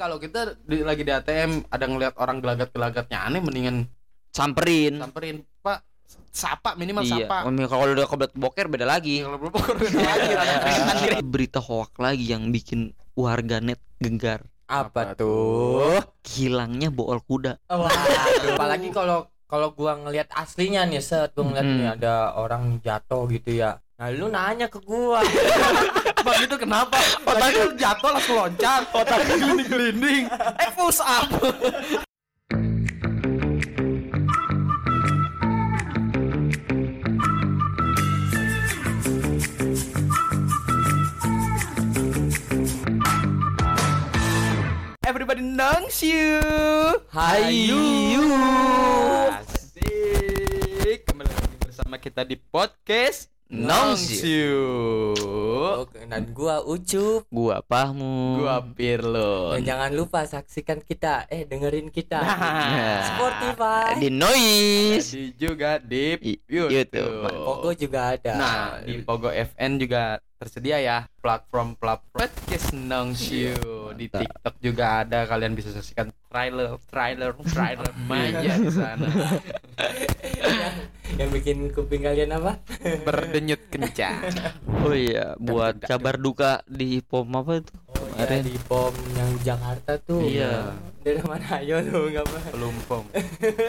kalau kita di- lagi di ATM ada ngelihat orang gelagat-gelagatnya aneh mendingan Hmm. Samperin. samperin Pak sapa minimal Iya. sapa Oh. Iya, Om, Kalau udah kebelet boker beda lagi. kalau belum pokoknya udah lagi gitu ya. tanya. Berita hoak lagi yang bikin warganet gengar. Apa Apa tuh? Hilangnya bool kuda. Waduh, apalagi kalau kalau gua ngelihat aslinya nih, set gua ngeliat Mm. nih ada orang jatuh gitu ya. Nah, lu nanya ke gua. Bang itu kenapa? Otaknya jatuh langsung loncat, otaknya gelinding-gelinding. Eh push up. Everybody knows you. Hayu. Asik. Kembali lagi bersama kita di podcast Nongs you. Oke, Oh, Dan gua ucup. Gua pahmu. Gua Oh, Pirlo. Ya, Dan jangan lupa saksikan kita, eh dengerin kita. Nah. Spotify. Eh, di noise. Jadi juga di I- YouTube. YouTube. Pogo juga ada. Nah, di Pogo FN juga tersedia ya platform-platform podcast Nongsiu. Di Iya, mantap. TikTok juga ada, kalian bisa saksikan trailer trailer trailer manja di sana. yang bikin kuping kalian apa? Iya. Berdenyut kencang. Oh iya, buat kabar duka di pom apa itu? Oh, Kemarin. ya, di bom yang Jakarta tuh. Iya. Dari mana ayo lu enggak apa? Pelumpang.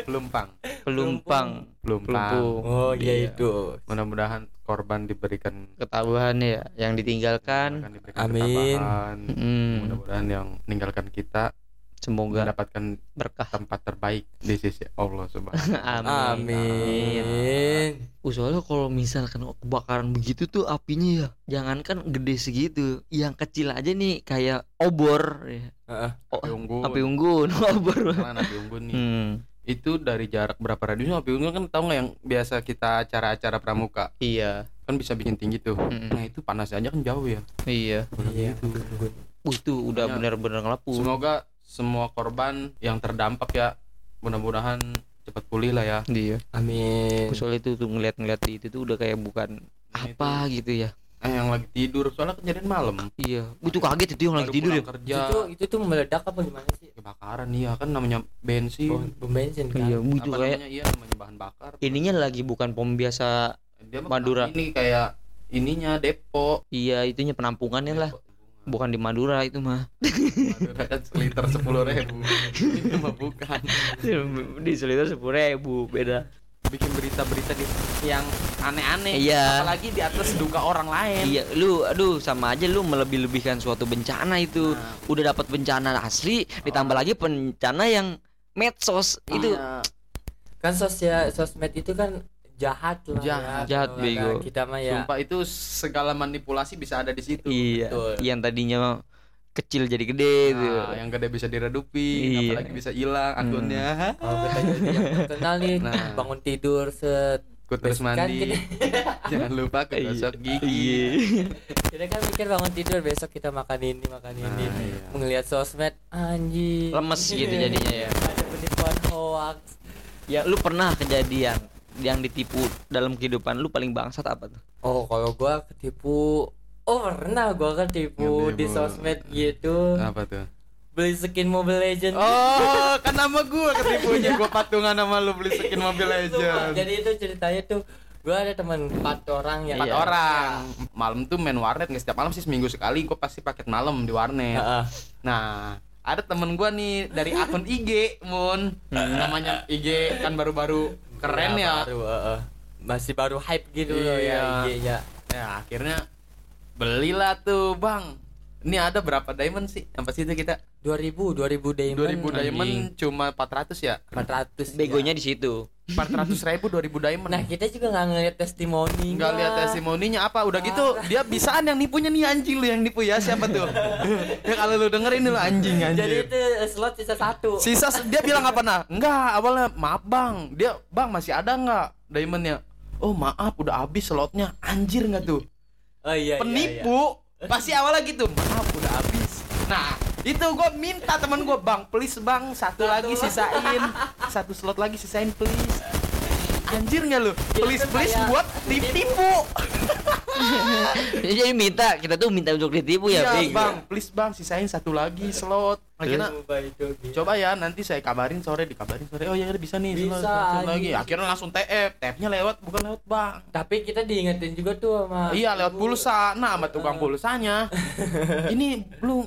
Pelumpang. Pelumpang, Pelumpang. pelumpung. Oh, iya Iya. itu. Mudah-mudahan korban diberikan Ketahuan ya yang ditinggalkan. mudah-mudahan diberikan Amin. ketabahan. Mm, Mudah-mudahan yang meninggalkan kita semoga mendapatkan berkah. tempat terbaik di sisi Allah Subhanahu Amin. Uh, soalnya kalau misalkan kebakaran begitu tuh apinya ya, jangankan gede segitu, yang kecil aja nih kayak obor, ya. Heeh. Oh, Api unggun. api unggun, obor. Karena api unggun nih. Hmm, Itu dari jarak berapa radiusnya api unggun kan tahu nggak yang biasa kita acara-acara pramuka iya, kan bisa bikin tinggi tuh. Nah Mm-mm. itu panas aja kan jauh ya. iya. Iya. Uh, itu udah Makanya- bener-bener ngelapu. Semoga semua korban yang terdampak ya mudah-mudahan cepat pulih lah ya. Iya. Amin. Aku soalnya itu tuh ngeliat-ngeliat itu tuh udah kayak bukan Ini apa gitu ya. tuh, eh, Nah, yang lagi tidur soalnya kejadian malam. Iya, itu kaget itu yang lagi Baru tidur ya. pulang kerja Itu itu tuh meledak apa gimana sih? kebakaran iya kan namanya Bom, bensin. bom bensin Iya, kan. uh, itu Apa kayak namanya? Iya namanya bahan bakar. ininya lagi bukan pom biasa. Dia mah Madura. Ini kayak ininya depo. Iya, itunya penampungannya lah. Bukan di Madura itu mah. Madura kan seliter sepuluh ribu. Itu mah bukan. di Soliter sepuluh ribu beda. bikin berita-berita di yang aneh-aneh Iya. apalagi di atas duka orang lain Iya, lu aduh sama aja lu melebih-lebihkan suatu bencana itu. Nah. Ah. Udah dapat bencana asli, ditambah lagi bencana yang medsos itu. Iya. Kan sosial sosmed itu kan jahat lah. Jahat. ya. Jahat, Kalau bego. kata Kita mah ya. sumpah itu segala manipulasi bisa ada di situ Iya, betul. yang tadinya kecil jadi gede gitu. itu. nah, yang gede bisa diredupi Iya. Hmm. apalagi bisa hilang akunnya Kalau kita jadi yang terkenal nih Nah. bangun tidur set. Ku terus Besok kan mandi jangan lupa Iya. ku gosok gigi Kita kan mikir bangun tidur besok kita makan ini makan ini. Nah, iya. Ngelihat sosmed anjing. Lemes gitu jadinya ya. Ada penipuan hoax. Ya lu pernah kejadian yang ditipu dalam kehidupan lu paling bangsat apa tuh? Oh, kalau gua ketipu Oh pernah gua ketipu Ketipu. di sosmed gitu apa tuh Beli skin Mobile Legends oh kan nama gua ketipunya gua patungan sama lu beli skin mobil Sumpah, legend Nah, Jadi itu ceritanya tuh Gue ada teman empat orang ya empat orang malam tuh main warnet nggak setiap malam sih seminggu sekali gua pasti paket malam di warnet Heeh. Nah, ada temen gua nih dari akun IG, Mun. Namanya IG kan baru-baru keren ya. Hmm. Nah, Iya, Baru, heeh. Masih baru hype gitu Iya. loh ya IG-nya Ya, akhirnya belilah tuh, Bang. Ini ada berapa diamond sih? Sampai situ kita 2000, 2000 diamond 2000 diamond cuma 400 ya? 400 Begonya ya. di situ. 400 ribu 2000 diamond Nah kita juga nggak ngeliat testimoni Nggak lihat testimoninya apa Udah gitu dia bisaan yang nipunya nih anjing lu yang nipu ya siapa tuh Ya kalau lu dengerin lu anjing anjing Jadi itu eh, slot sisa satu Sisa dia bilang apa nah? Enggak, awalnya maaf bang. Dia bang masih ada nggak diamondnya? Oh maaf udah habis slotnya. Anjir nggak tuh? Oh iya iya, iya. Penipu. Pasti awalnya gitu. Maaf udah habis. Nah itu gue minta teman gue bang please bang satu lagi sisain satu slot lagi sisain please anjir nggak lu Jadi please tuh please Iya, kan, kayak- buat ditipu jadi minta kita tuh minta untuk ditipu Oh Ya. ya, iya Bing. bang please bang sisain satu lagi Iya. slot akhirnya Coba itu, Bi. ya coba ya nanti saya kabarin sore dikabarin sore oh ya udah bisa nih slot, Bisa, langsung lagi anjing. akhirnya langsung tf tf-nya lewat bukan lewat bang Tapi kita diingetin juga tuh sama Iya lewat ibu. pulsa. Nah, sama tukang Ah. pulsanya. ini lu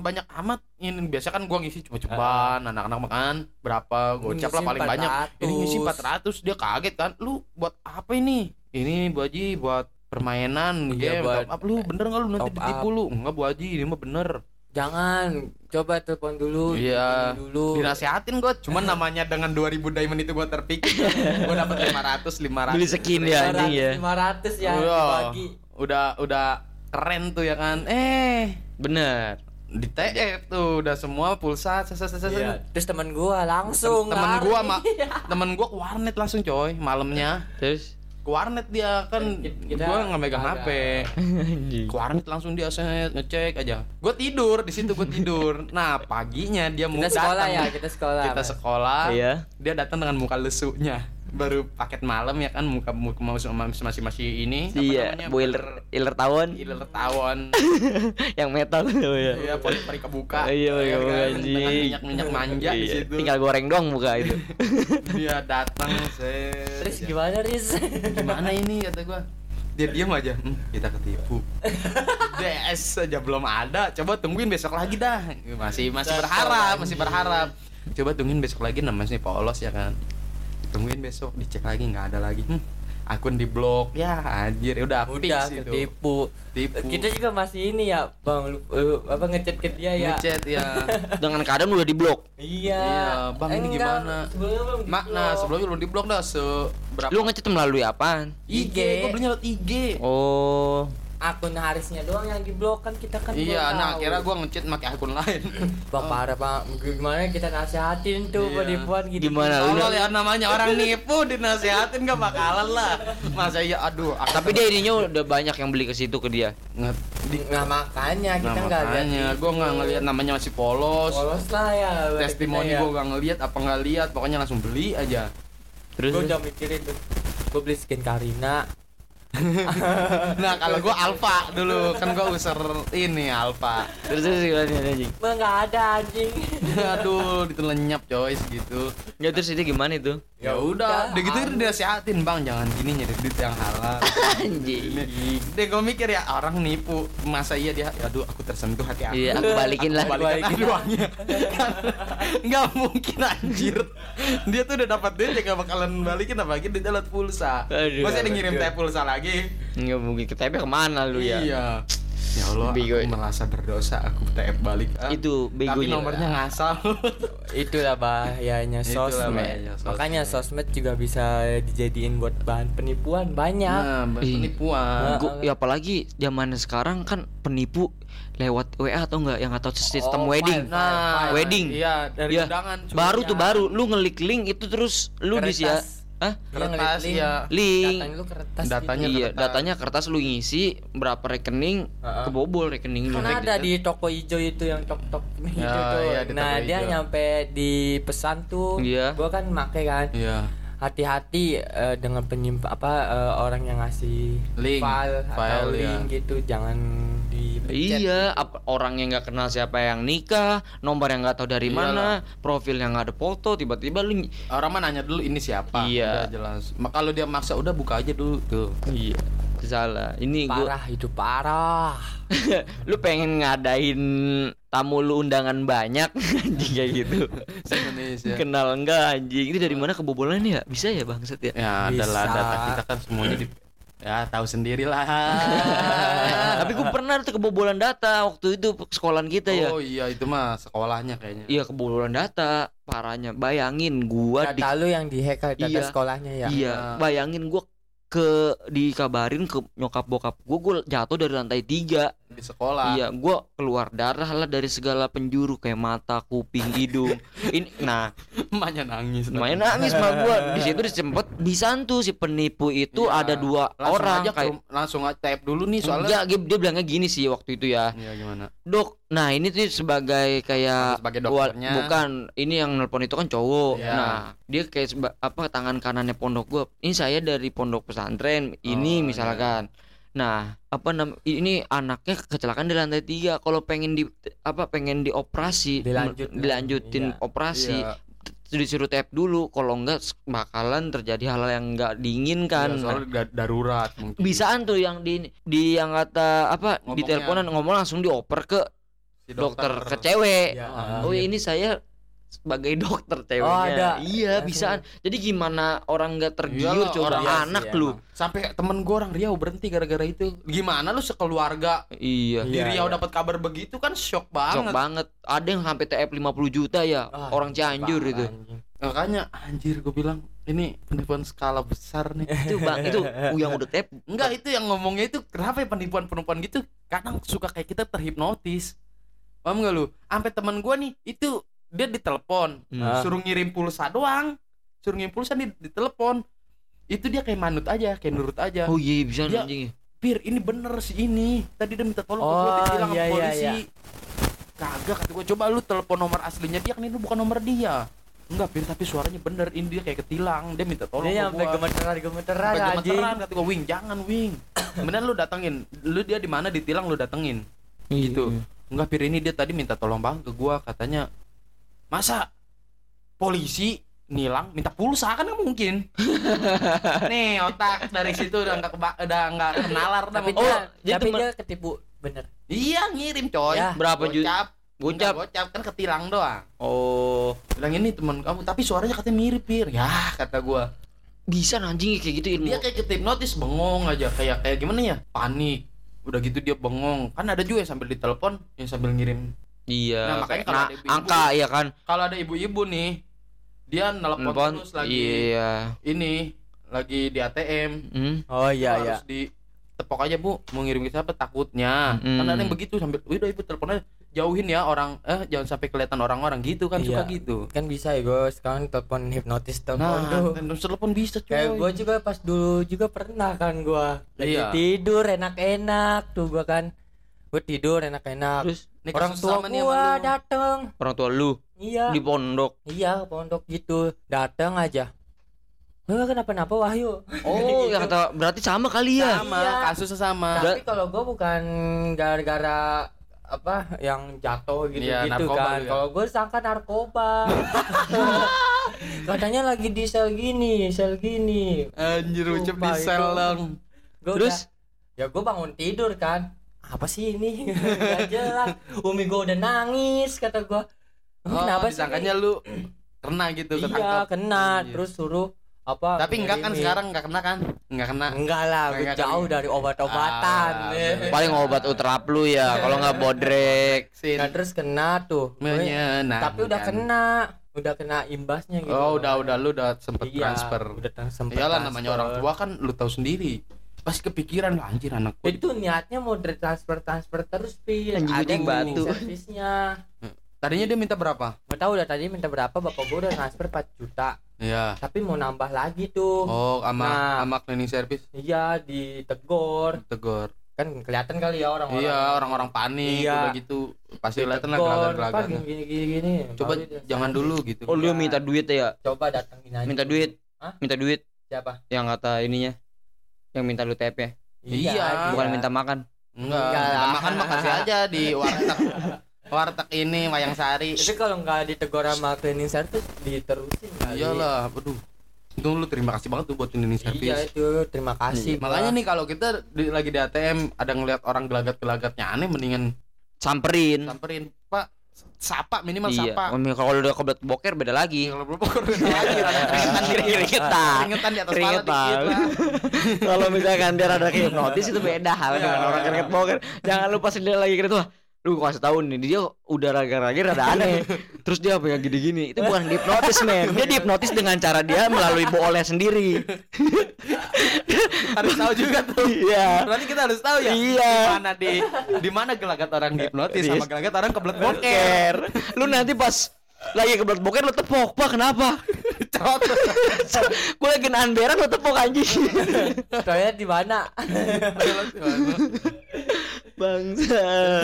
banyak amat ini biasa kan gua ngisi coba-cobaan anak-anak makan berapa gocap lah Ah. Ngisi paling banyak 400. ini ngisi 400 dia kaget kan lu buat apa ini ini Bu Haji buat permainan game Iya, buat top up lu bener nggak lu nanti top ditipu lu enggak Bu Haji ini mah bener Jangan coba telepon dulu. Iya. telepon Dulu. dinasehatin gua cuman namanya dengan 2000 diamond itu gua terpikir gua dapat 500 500 Beli skin ya anjing ya. 500 ya Iya. dibagi. udah udah keren tuh ya kan eh Bener. di TF tuh udah semua pulsa ses, ses, ses, ses. Iya. Terus teman gua langsung Tem- temen lari. Iya. gua mak temen gua ke warnet langsung coy malamnya Terus ke warnet dia kan Eh, Kita- kita gua nggak megang agak- HP ke warnet langsung dia set, ngecek aja gua tidur di situ gua tidur nah paginya dia mau Kita sekolah datang. ya, kita sekolah. kita Mas. sekolah Iya. dia datang dengan muka lesunya baru paket malam ya kan muka muka masih masih masih ini apa Iya, namanya? boiler iler tawon Iler tawon yang metal tuh ya. Iya, pori-pori kebuka. Iya, iya, Kan, iya, dengan anjing. Minyak-minyak manja Ya, di Iya, situ. Tinggal goreng doang muka itu. Dia datang, set. Terus gimana, Riz? Gimana ini kata gua? Dia diam aja. "Hmm, kita ketipu. Des aja belum ada. Coba tungguin besok lagi dah. Masih masih Sesal berharap, lagi. masih berharap. Coba tungguin besok lagi namanya sih polos ya kan. Tungguin besok dicek lagi nggak ada lagi. Hmm, akun di blok ya anjir udah, Udah fix itu. ketipu. Tipu. Kita juga masih ini ya, Bang. Lu- lu- apa ngechat ke dia ya? Ngechat ya. Dengan keadaan udah diblok. Iya. Iya, Bang, ini Enggak, gimana? Sebelumnya belum Mak, nah di-block. sebelumnya lu di blok dah seberapa? Lu ngechat melalui apaan? IG, IG. gua belinya lewat IG. Oh, akun Harisnya doang yang diblok kan kita kan iya, belum nah tahu. akhirnya gua ngechat pakai akun lain. Bang parah bang, gimana kita nasihatin tuh Iya. penipuan gitu Gimana? Nah, lu- Allah lihat ya, namanya orang nipu dinasehatin gak bakalan lah. Masa iya aduh, aku tapi dia ininya udah banyak yang beli ke situ ke dia. nge di Nah makanya nah, kita nggak lihat makanya gua nggak ngelihat namanya masih polos. polos lah ya buat Testimoni kita ya. gua nggak ngelihat apa nggak lihat, pokoknya langsung beli aja. Terus Gua udah mikirin tuh Gua beli skin Karina Nah, kalau gua alfa dulu kan gua user ini alfa. terus terus gimana nih, anjing? Bang nggak ada anjing aduh, itu lenyap coy segitu. Ya terus ini gimana itu? Ya udah, udah, udah gitu am. dinasehatin, Bang, jangan gini nyari duit yang halal. Anjing. Deh gue mikir ya orang nipu masa iya dia aduh aku tersentuh hati aku Iya, aku balikin lah. Aku balikin Balikin. aja uangnya Kan, nggak mungkin anjir dia tuh udah dapat duit ya nggak bakalan balikin apalagi dia lewat pulsa Aduh, masa dia ngirim aduh. teh pulsa lagi Enggak mungkin ke TP kemana lu ya? iya ya Allah Bego. aku merasa berdosa aku TF balik ah. Itu tapi begonya. nomornya ngasal Itulah bahayanya Itulah sosmed bahayanya sosmed. Makanya sosmed juga bisa dijadiin buat bahan penipuan Ya. banyak nah penipuan Gua- ya apalagi zaman sekarang kan penipu lewat WA atau enggak yang atau sistem Oh, wedding. file, file, file. Nah, wedding. iya dari Ya, undangan cuy. baru tuh baru lu ngelik link itu terus lu di ya. Kertas. Hah? Dia Iya, ngeliat kertas link, ya Link. Datanya lu kertas gitu. Datanya iya, kertas. datanya kertas lu ngisi berapa rekening Heeh. kebobol rekening lu. Kan ada di toko hijau itu yang tok tok hijau tuh. gitu. iya, di nah toko dia hijau. nyampe di pesan tuh. Iya. Gua kan make kan. iya Hati-hati eh, dengan penyimp apa eh, orang yang ngasih Link, file, atau file, iya. link gitu jangan di Iya, ap- orang yang nggak kenal siapa yang nikah, nomor yang nggak tahu dari mana, profil yang nggak ada foto, tiba-tiba lu ny- orang mah nanya dulu ini siapa Iya. udah jelas Ma- kalau dia maksa udah buka aja dulu tuh iya salah. Ini gua parah itu parah. lu pengen ngadain tamu lu undangan banyak anjing kayak gitu. Indonesia Kenal enggak anjing? Ini dari mana kebobolan ya? Bisa ya bangsat ya? ya Bisa. adalah data kita kan semuanya di ya tahu sendirilah Tapi gue pernah tuh kebobolan data waktu itu sekolahan kita ya. oh iya itu mah sekolahnya kayaknya Iya kebobolan data, parahnya. Bayangin gua di Data lu yang dihack data Iya. sekolahnya ya. Iya, bayangin gua ke dikabarin ke nyokap bokap gua gua jatuh dari lantai tiga di sekolah Iya, gua keluar darah lah dari segala penjuru kayak mata, kuping, hidung. Ini nah, emaknya nangis main nangis mah gua. Di situ disempet disantu si penipu itu Iya, ada dua langsung orang aja ke kayak rum- langsung aja tap dulu nih soalnya Enggak, dia, dia bilangnya gini sih waktu itu ya. Iya gimana Dok, nah ini tuh sebagai kayak sebagai Eh, wal- dokternya bukan ini yang nelpon itu kan cowok. Iya. Nah, dia kayak seba- apa tangan kanannya pondok gua. Ini saya dari pondok pesantren ini Oh, misalkan. Nah, apa nam ini anaknya kecelakaan di lantai tiga. Kalau pengen di apa pengen dioperasi, Dilanjut. dilanjutin Iya. operasi, kan? Iya, disuruh tap dulu. Kalau enggak bakalan terjadi hal yang enggak kan diinginkan. Nah, soalnya da- darurat mungkin bisaan tuh yang di di yang kata apa di Ngomongnya. teleponan ngomong langsung dioper ke Si dokter, ke cewek. Iya. Oh ini saya sebagai Oh, dokter ceweknya. ada. Iya Ada. bisaan. Jadi gimana orang nggak tergiur Iyalah, coba orang- Iya sih, anak emang. lu. sampai temen gue orang Riau berhenti gara-gara itu gimana lu sekeluarga Iya. di Iya, Riau iya. dapat kabar begitu kan shock Shock banget banget. Ada yang sampai TF 50 juta ya Ah, orang Cianjur parah, itu. anjing. makanya anjir gue bilang ini penipuan skala besar nih Itu Bang itu oh, yang udah TF. Enggak itu yang ngomongnya itu kenapa ya penipuan penipuan gitu kadang suka kayak kita terhipnotis paham gak lu sampai teman gua nih itu dia ditelepon Hmm. suruh ngirim pulsa doang suruh ngirim pulsa di, ditelepon itu dia kayak manut aja kayak nurut aja Oh iya bisa Iya. anjing. pir ini bener sih ini tadi dia minta tolong ke gua, Oh, dibilang sama iya, iya, polisi iya. kagak kata gua coba lu telepon nomor aslinya dia kan ini bukan nomor dia enggak pir tapi suaranya bener ini dia kayak ketilang dia minta tolong ke Dia sampai gua. gemeteran gemeteran Sampai anjing. gemeteran kata gue wing jangan wing kemudian lu datengin lu dia di mana ditilang lu datengin Gitu. enggak pir ini dia tadi minta tolong bang ke gua katanya masa polisi nilang minta pulsa kan nggak mungkin nih otak dari situ udah nggak keba- udah nggak kenalar dah Tapi sama gua. dia, dia tapi temen- dia ketipu bener. iya ngirim coy Ah, Ya, berapa juta? Gocap. Minta Bocap. gocap kan ketilang doang Oh. bilang ini teman kamu tapi suaranya katanya mirip pir ya kata gua Bisa anjing kayak gitu ilmu. dia kayak ketipnotis bengong aja kayak kayak gimana ya panik udah gitu dia bengong kan ada juga yang sambil ditelepon yang sambil ngirim Iya. Nah, makanya kayak- kalau Nah, ada ibu-ibu- angka ya kan. kalau ada ibu-ibu nih dia nelpon Telepon. terus lagi Iya. ini lagi di ATM Hmm. Oh iya Lu iya. harus di tepok aja bu mau ngirim ke siapa takutnya kan Mm. ada yang begitu sambil udah ibu telepon aja jauhin ya orang eh jangan sampai kelihatan orang-orang gitu kan suka Iya. gitu Kan bisa ya gue sekarang telepon hipnotis telepon tuh. nah terus telepon bisa coy Kayak gue juga pas dulu juga pernah kan gue lagi Iya. tidur enak-enak tuh gue kan gue tidur enak-enak Terus Nih, orang kasus tua sama nih gue sama lu. dateng orang tua lu iya di pondok. iya pondok gitu dateng aja gue kenapa-napa Wahyu Oh, yang kata berarti sama kali ya. sama Iya. kasusnya sama tapi kalau gue bukan gara-gara apa yang jatuh gitu Iya, gitu narkoba kan lu ya. kalau gue sangka narkoba katanya lagi di sel gini sel gini anjir ucap di Sumpah, itu- sel dong. Gua Terus? udah- ya gue bangun tidur kan apa sih ini Gak jelas umi gue udah nangis kata gue Oh, kenapa sih disangkanya ini?" lu kena gitu iya ketangkap. kena Anjir. terus suruh apa Tapi enggak kan ngirimin. sekarang enggak kena kan? Enggak kena. enggak lah gue Enggak jauh kena. dari obat-obatan Ah, Eh. bener. Paling obat uterap lu ya, kalau nggak bodrek. Sin. Nah, terus kena tuh Gua- Menyenangkan. tapi udah kena udah kena imbasnya gitu Nah, Oh, udah udah lu udah sempet Iya, transfer. udah trans- sempet Iyalah transfer. namanya orang tua kan lu tahu sendiri. Pasti kepikiran "Lah, anjir anak gua itu niatnya mau transfer transfer terus pin Anjing ada kucing batu. batu servisnya Tadinya dia minta berapa? Gak tahu udah tadi minta berapa bapak gue udah transfer 4 juta Iya. Tapi mau nambah lagi tuh Oh, sama Nah. sama cleaning service Iya ditegor tegor. Kan kelihatan kali ya orang-orang Iya, orang-orang panik Iya. udah gitu. Pasti kelihatan lah Ditegor, apa gelagat-gelagatnya. gini gini gini Coba Baru dia- jangan dulu gitu. Oh, lu minta duit ya? Coba datangin aja Minta duit. Hah? Minta duit Siapa? yang kata ininya. Yang minta lu TP ya, Iya, bukan minta makan. Enggak, Enggak minta lah. makan makasih aja di warteg warteg ini Wayang Sari. Itu kalau nggak ditegor sama cleaning service diterusin kali Iyalah, aduh. Untung lu terima kasih banget tuh buat cleaning Iya service. Iya. itu terima kasih Makanya gua. nih kalau kita di- lagi di ATM ada ngelihat orang gelagat-gelagatnya aneh mendingan Samperin. samperin, Pak. Sapa minimal Hmm. Iya. sapa. Kalau- Kalau udah kebelet boker beda lagi. Kalau belum ukur lagi rada keringetan Keringetan. Keringetan di atas kepala Keringetan. dikit lah. Iya. Kalau misalkan dia ada hipnotis itu beda hal dengan orang keringet boker. Jangan lupa sendiri lagi keringet wah. lu gua kasih tahu nih dia udah raga-raga rada aneh terus dia apa ya gini-gini itu bukan dihipnotis men dia dihipnotis dengan cara dia melalui boleh sendiri Kan harus tahu juga tuh iya berarti kita harus tahu ya Iya. di mana di di mana gelagat orang dihipnotis sama gelagat orang kebelet boker boker lu nanti pas lagi kebelet boker lu tepok pak kenapa Cot. gue lagi nahan berak lu tepok anjing toilet di mana Eh. bangsa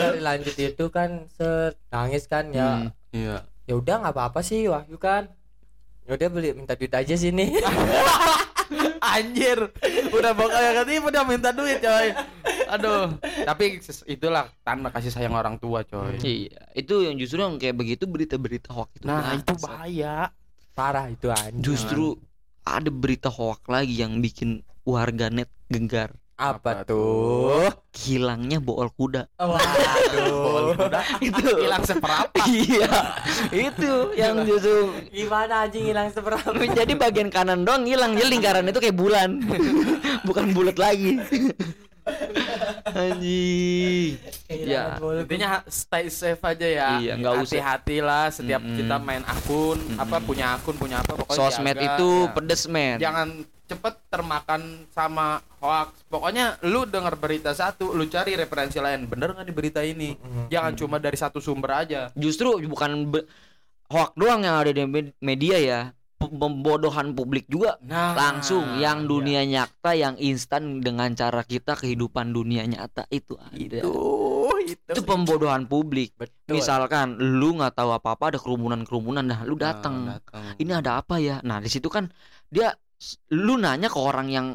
dari lanjut itu kan set nangis kan ya Hmm. iya ya udah nggak apa-apa sih Wahyu kan ya udah beli minta duit aja sini anjir udah bakal ya ketipu udah minta duit coy aduh tapi ses- itulah tanda kasih sayang orang tua coy iya itu yang justru yang kayak begitu berita-berita hoax itu nah bangsa. itu bahaya parah itu anjing justru ada berita hoax lagi yang bikin warganet gengar Apa apa, tuh hilangnya bool kuda Bol waduh kuda itu hilang seperempat iya itu yang justru gimana anjing hilang Iya. seberapa jadi bagian kanan doang hilang jadi lingkaran itu kayak bulan bukan bulat lagi anjing Kehilangan bola. intinya ha- stay safe aja ya Iya, nggak usah. hati-hati lah setiap Mm-mm. kita main akun apa punya akun punya apa pokoknya sosmed Oh, jaga, itu ya. pedes men jangan cepet termakan sama hoax pokoknya lu denger berita satu lu cari referensi lain bener nggak di berita ini Hmm, jangan Hmm. cuma dari satu sumber aja justru bukan be- hoax doang yang ada di med- media ya P- pembodohan publik juga nah langsung yang iya. dunia nyata yang instan dengan cara kita kehidupan dunia nyata itu ada. Tuh, itu itu pembodohan publik betul misalkan lu nggak tahu apa apa ada kerumunan kerumunan nah lu datang ini ada apa ya nah di situ kan dia s- lu nanya ke orang yang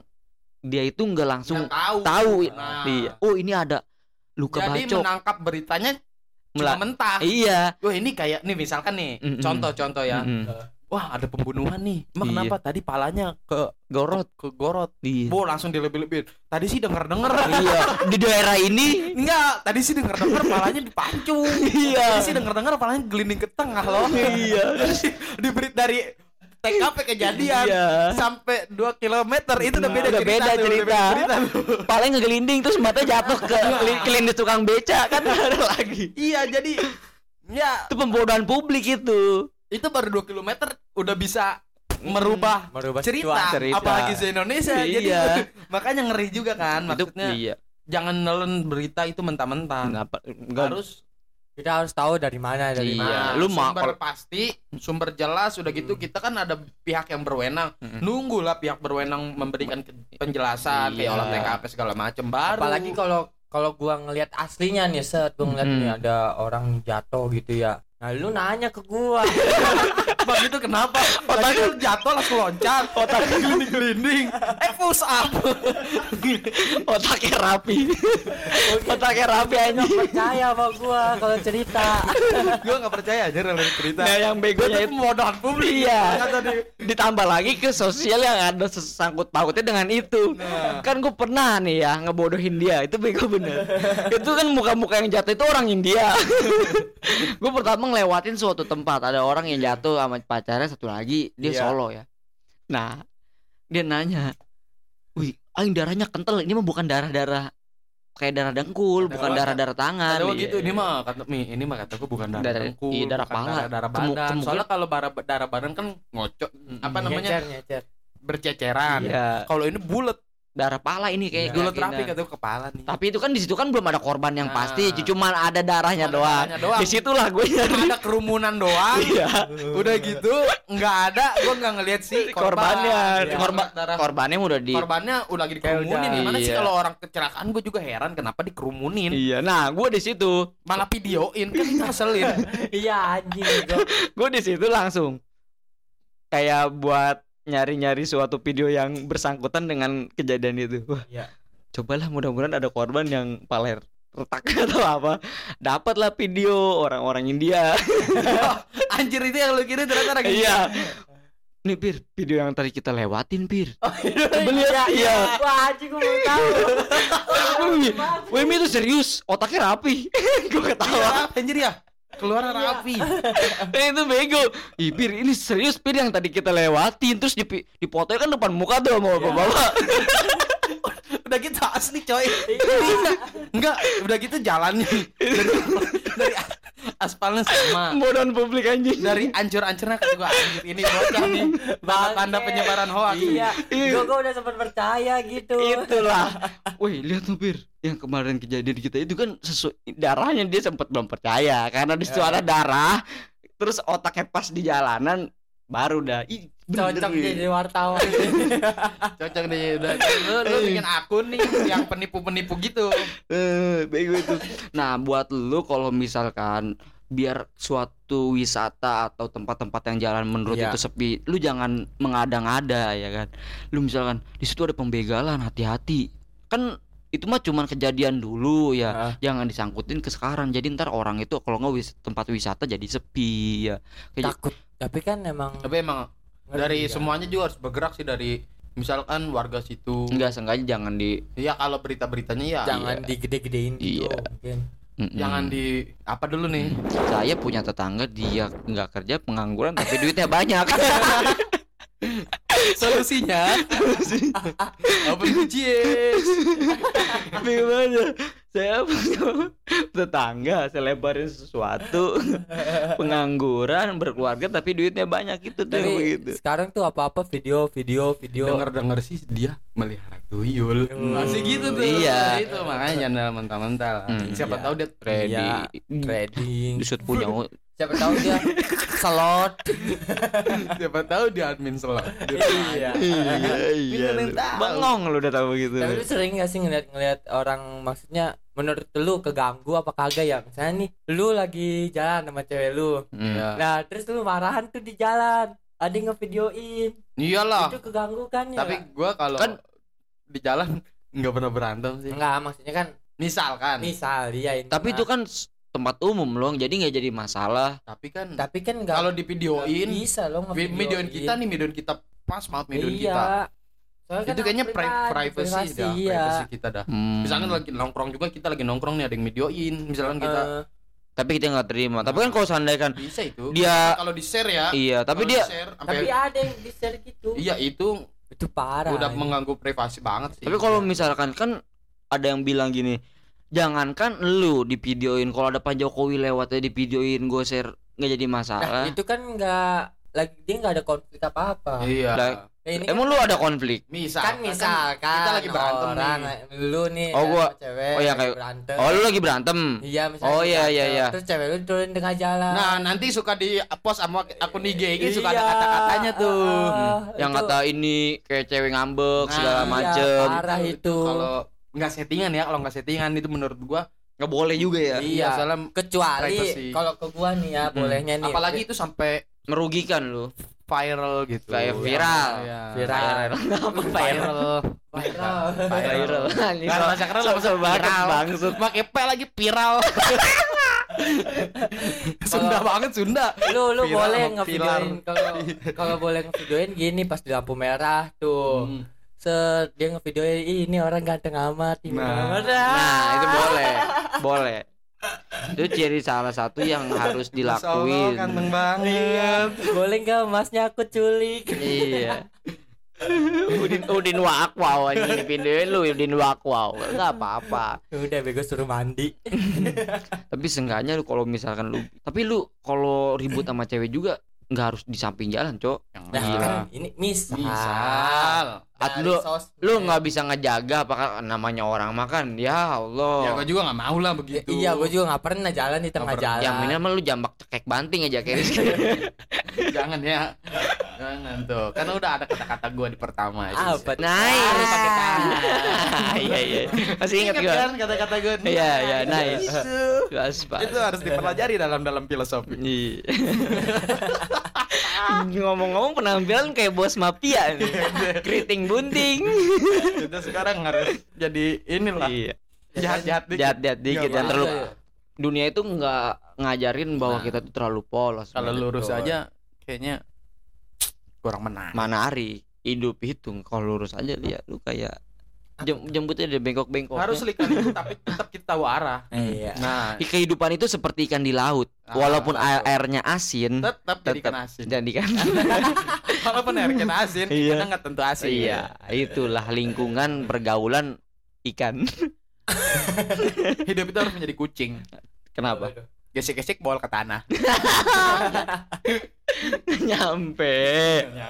dia itu nggak langsung tahu tahu Nah. iya oh ini ada luka jadi bacok menangkap beritanya Mela- cuma mentah iya Wah ini kayak nih misalkan nih Mm-mm. contoh-contoh ya. Mm-mm. Wah ada pembunuhan nih. Emang Iya. kenapa tadi palanya ke gorot ke gorot? iya Bo langsung dilebih-lebihin. Tadi sih denger-denger. iya di daerah ini Enggak, tadi sih denger-denger palanya dipancung. Iya. Tadi sih denger-denger palanya gelinding ke tengah loh. Iya. Terus di- di beri- dari TKP kejadian Iya. sampai 2 km itu udah Nah, beda udah cerita. beda tuh, cerita. udah beda tuh. paling ngegelinding terus mata jatuh ke keli- kelindes tukang beca kan ada lagi Iya, jadi ya itu pembodohan publik itu itu baru 2 km udah bisa merubah merubah cerita, situasi. Hmm, cerita. apalagi se Indonesia jadi Iya. makanya ngeri juga kan maksudnya ah, itu, iya jangan nelen berita itu mentah-mentah Kenapa? Enggak. harus kita harus tahu dari mana dari Iya. mana Nah, lu Hmm. ma- sumber pasti sumber jelas udah gitu kita kan ada pihak yang berwenang Mm-mm. nunggulah pihak berwenang memberikan ke- penjelasan kayak Iya. olah TKP segala macem baru apalagi kalau kalau gua ngelihat aslinya nih set gua ngeliat Hmm. Mm. nih ada orang jatuh gitu ya nah lu nanya ke gua Bang, itu kenapa otaknya jatuh langsung loncat otak gelinding-gelinding eh push up otaknya rapi otaknya rapi nggak anjing percaya sama gua kalau cerita gue nggak percaya aja dengan cerita nah yang gue begonya tuh itu pemodohan publik Iya. Makanya tadi ditambah lagi ke sosial yang ada sesangkut pautnya dengan itu Nah. kan gue pernah nih ya ngebodohin dia itu bego bener itu kan muka-muka yang jatuh itu orang India gue pertama ngelewatin suatu tempat ada orang yang jatuh sama pacarnya satu lagi dia Iya. solo ya nah dia nanya wih aing darahnya kental ini mah bukan darah darah kayak darah dengkul Darah bukan apa? darah darah tangan Ada Iya. gitu ini mah kata mi ini mah kataku bukan darah Darah- dengkul, iya, darah bukan pala. darah, darah Kemu- badan. kemungkinan- Soalnya kalau darah darah badan kan ngocok apa namanya nyecer nyecer berceceran. Iya. Kalau ini bulat, darah pala ini kayak Iya. bulat kerakinan. rapi kataku kepala nih. tapi itu kan di situ kan belum ada korban yang Nah. pasti cuma ada darahnya Ada doang darahnya doang. di situlah gue nyari ada kerumunan doang. iya Udah gitu nggak ada, gua nggak ngelihat sih korban. korbannya Iya. korban darah korbannya udah di korbannya udah lagi dikerumunin. Kayak udah, Gimana sih iya. kalau orang kecelakaan gue juga heran kenapa dikerumunin. iya nah gue di situ Malah videoin kan itu ngeselin. iya anjing gua- gue di situ langsung kayak buat nyari-nyari suatu video yang bersangkutan dengan kejadian itu Wah, Iya. cobalah mudah-mudahan ada korban yang paler retak atau apa dapatlah video orang-orang India Anjir itu yang lu kira ternyata lagi. iya nih pir video yang tadi kita lewatin pir Beli Iya, ya? iya. Iya. wah anjing gua mau tahu Wih, Wih, Mi itu serius, otaknya rapi. gue Iya, ketawa. Anjir ya. Keluar rapi. Eh, itu bego. Ih, Pir, ini serius Pir yang Iya. tadi kita lewatin terus di dipotoin kan depan muka tuh mau bapak-bapak. udah gitu asli coy enggak udah gitu jalannya dari, dari aspalnya sama Bodohan publik anjing. dari ancur-ancurnya kata gua anjir ini bocah nih tanda-tanda Bangke. penyebaran hoax Iya, gua, gua udah sempat percaya gitu. Iya. itulah. Wih, lihat tuh Bir. Yang kemarin kejadian kita itu kan sesuai darahnya dia sempat belum percaya karena di situ Ya. Iya. ada darah. Terus otaknya pas di jalanan baru dah. Ih, bener, Cocok Iya. Wir. jadi wartawan. cocok nih udah lu, lu Iya. bikin akun nih yang penipu-penipu gitu Eh, bego itu. Nah, buat lu kalau misalkan biar suatu wisata atau tempat-tempat yang jalan menurut Iya. itu sepi, lu jangan mengada-ngada ya kan. Lu misalkan di situ ada pembegalan, hati-hati. Kan itu mah cuman kejadian dulu ya. Heeh. Jangan disangkutin ke sekarang. Jadi ntar orang itu kalau nggak wis- tempat wisata jadi sepi ya. Kayak- Takut. Tapi kan emang tapi emang Iya. dari semuanya juga harus bergerak sih dari misalkan warga situ Enggak sengaja jangan di Iya kalau berita-beritanya ya kan. Hmm. jangan digede-gedein gitu. Iya. mungkin. Mm-mm. jangan di apa dulu nih saya punya tetangga dia nggak kerja pengangguran tapi duitnya banyak. solusinya open budget Gimana? Saya punya tetangga, saya lebarin sesuatu, pengangguran, berkeluarga tapi duitnya banyak itu tuh Tapi begitu. sekarang tuh apa-apa video, video, Iya, video. denger dengar sih dia melihara tuyul Hmm. masih gitu tuh Iya. itu makanya jangan mentah-mentah lah. Hmm, siapa iya. tahu dia Ready. Iya, Ready. trading. Disut punya. Siapa tahu dia slot. siapa tahu dia admin slot Dia iya. iya, Bener yang tahu. Bengong lu udah tahu gitu. Tapi lu sering gak sih ngeliat-ngeliat orang maksudnya menurut lu keganggu apa kagak ya? Misalnya nih, lu lagi jalan sama cewek lu. Hmm. Iya. Nah, terus lu marahan tuh di jalan. Ada yang ngevideoin. iyalah Itu keganggu kan ya? Iya tapi gua kalau Kan- di jalan nggak pernah berantem sih enggak maksudnya kan misalkan misal dia ini. Tapi mah. itu kan s- tempat umum loh, jadi nggak jadi masalah. tapi kan tapi kan enggak kalau di videoin bisa lo videoin kita nih videoin kita pas maaf videoin iya. kita Soalnya itu kan kayaknya hak pri- privacy, dah iya. privacy kita dah Hmm. misalkan lagi nongkrong juga kita lagi nongkrong nih ada yang videoin misalkan kita Eh, tapi kita nggak terima. Tapi kan kalau seandaikan bisa itu dia kalau di share ya iya, tapi kalau dia di-share sampai tapi ada yang di share gitu iya itu itu parah udah mengganggu privasi banget sih Tapi kalau misalkan kan ada yang bilang gini, jangankan lu di videoin, kalau ada Pak Jokowi lewat di videoin gue share nggak jadi masalah. Nah, itu kan enggak lagi dia enggak ada konflik apa-apa. iya Lah, Nah, ini kan Emang lu ada konflik? misal kan misal kan kita lagi berantem orang, nih lu nih Oh, kan gua- sama cewek oh, iya, lagi kayak- berantem. Oh lu lagi berantem? Iya, misalnya Oh, iya, berantem. iya, iya. Terus cewek lu turun di tengah jalan. nah nanti suka di post sama akun IG ini suka ada Iya, kata-katanya tuh Iya, ah, Hmm, yang itu- kata ini kayak cewek ngambek Nah, segala iya, macem. parah itu. kalau nggak settingan ya kalau nggak settingan itu menurut gua Nggak boleh juga ya. iya soalnya kecuali privacy. kalau ke gua nih ya Mm-mm. bolehnya nih. apalagi itu sampai Merugikan lu. viral gitu Kayak viral. Iya. viral. viral Viral. viral Nggak bahasa keren lah, Sebel banget viral. bangsat. pakai P lagi viral Sunda banget Sunda Lu lu Viral boleh sama ngevideoin kalau kalau boleh ngevideoin gini pas di lampu merah Hmm. tuh. Hmm. Set dia ngevideoin "Ih, ini orang ganteng amat. ini Nah. orang- Nah itu boleh, boleh. Itu ciri salah satu yang harus dilakuin. ganteng banget Boleh nggak masnya aku culik? iya Udin Udin Wakwaw aja dipindahin lu Udin Wakwaw nggak apa-apa Udah bego suruh mandi. tapi seenggaknya lu kalau misalkan lu tapi lu kalau ribut sama cewek juga nggak harus di samping jalan cok Nah, Iya. Ah, kan ini Ah, misal. misal At Dari lu sosmed. lu nggak bisa ngejaga apakah namanya orang makan ya ya Allah gua juga nggak mau lah Ya, begitu Iya, gua juga nggak pernah jalan di tengah pernah. jalan. yang Ya, minimal lu jambak cekek banting aja kayak gitu. jangan ya jangan tuh karena udah ada kata-kata gua di pertama Apa tuh? Harus Ah, pakai tangan. Ah, Nah, iya iya masih ingat Ingat gua kan kata-kata gua Nah, iya iya nice Gas, Pak. itu harus dipelajari dalam dalam filosofi Iya. Ngomong-ngomong penampilan kayak bos mafia nih. Iya, Keriting bunting. kita sekarang harus jadi inilah Iya. jahat-jahat dikit. Iya, Jahat-jahat dikit, Nggak jangan apa-apa. terlalu- Dunia itu nggak ngajarin bahwa Nah. kita tuh terlalu polos. kalau Bener. lurus Betul. aja kayaknya kurang menang mana hari hidup hitung kalau lurus aja lihat lu kayak jem- jembutnya dia bengkok-bengkok. harus lika-liku tapi tetap kita tahu arah Iya. nah Di kehidupan itu seperti ikan di laut. Ah, Walaupun betul. air- airnya asin, tetap jadi Tetap. kena asin jadi kan. walaupun air kena asin Iya. kita nggak tentu asin iya, itulah Iya, lingkungan pergaulan ikan. Hidup itu harus menjadi kucing. Kenapa? Aduh. Gesek-gesek bol ke tanah. Nyampe. Iya,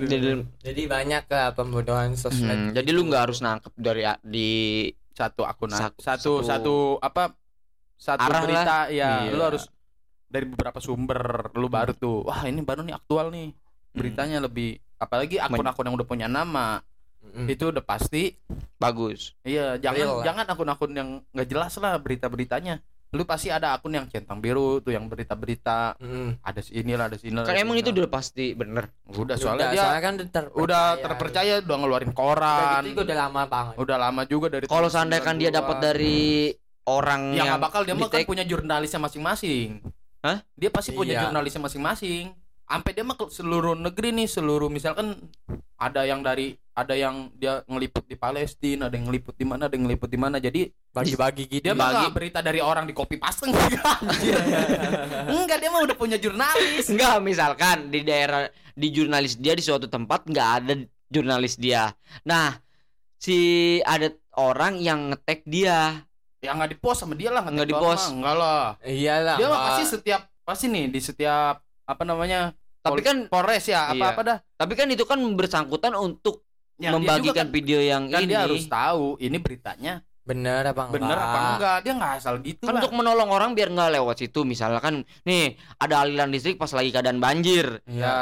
Jadi, Jadi banyak lah pembunuhan sosmed. hmm, jadi lu nggak harus nangkep dari a- di satu akun Sa- satu satu- satu apa satu Arah lah. berita ya Iya. lu harus dari beberapa sumber lu baru tuh wah ini baru nih aktual nih Hmm. beritanya lebih apalagi akun-akun yang udah punya nama Hmm. Mm-mm. itu udah pasti bagus. iya Real jangan lah. jangan akun-akun yang nggak jelas lah berita-beritanya lu pasti ada akun yang centang biru tuh yang berita-berita Mm-mm. ada inilah ada sini Kan emang itu udah pasti bener. udah soalnya Udah, dia kan udah terpercaya udah ngeluarin Udah koran gitu juga udah lama banget. udah lama juga dari Kalau tahun seandainya kan dia 90-an. dapat dari orang yang Hmm, yang nggak bakal dia mah kan di-take. punya jurnalisnya masing-masing Hah? dia pasti punya Iya. jurnalisnya masing-masing sampai dia mah ke seluruh negeri nih seluruh misalkan ada yang dari ada yang dia ngeliput di Palestina ada yang ngeliput di mana ada yang ngeliput di mana jadi Bagi-bagi gitu. dia mah Bagi- nggak berita dari orang di copy paste enggak anjir. enggak dia mah udah punya jurnalis Enggak, misalkan di daerah di jurnalis dia di suatu tempat nggak ada jurnalis dia. Nah, si ada orang yang ngetek dia. ya nggak di post sama dia lah ngetik Nggak di doang post. mah. enggak lah Iyalah. dia mah Pak. pasti setiap pasti nih di setiap apa namanya Tapi Pol- kan Polres ya apa apa dah tapi kan itu kan bersangkutan untuk Ya, dia juga membagikan kan- video yang kan ini. dia harus tahu ini beritanya Bener apa enggak? bener apa enggak dia nggak asal gitu Kan lah untuk menolong orang biar nggak lewat situ misalkan nih ada aliran listrik pas lagi keadaan banjir Ya. Iya.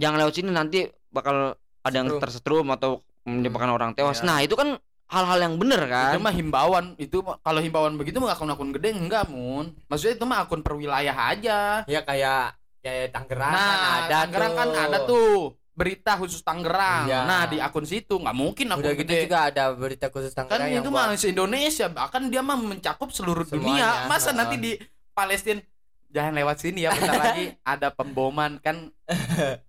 jangan lewat sini nanti bakal ada yang Setrum. tersetrum atau menyebabkan orang Iya. tewas nah itu kan hal-hal yang bener kan Ya, itu mah himbauan itu mah- kalau himbauan begitu mah akun-akun gede enggak mun maksudnya itu mah akun per wilayah aja Ya kayak kayak Tangerang kan nah ada Tangerang tuh. kan ada tuh berita khusus Tangerang Iya. nah di akun situ nggak mungkin akun Udah gitu gede juga ada berita khusus kan Tangerang yang itu mah se Indonesia bahkan dia mah mencakup seluruh dunia Semuanya. masa Heeh. nanti di Palestina jangan lewat sini ya bentar lagi ada pemboman kan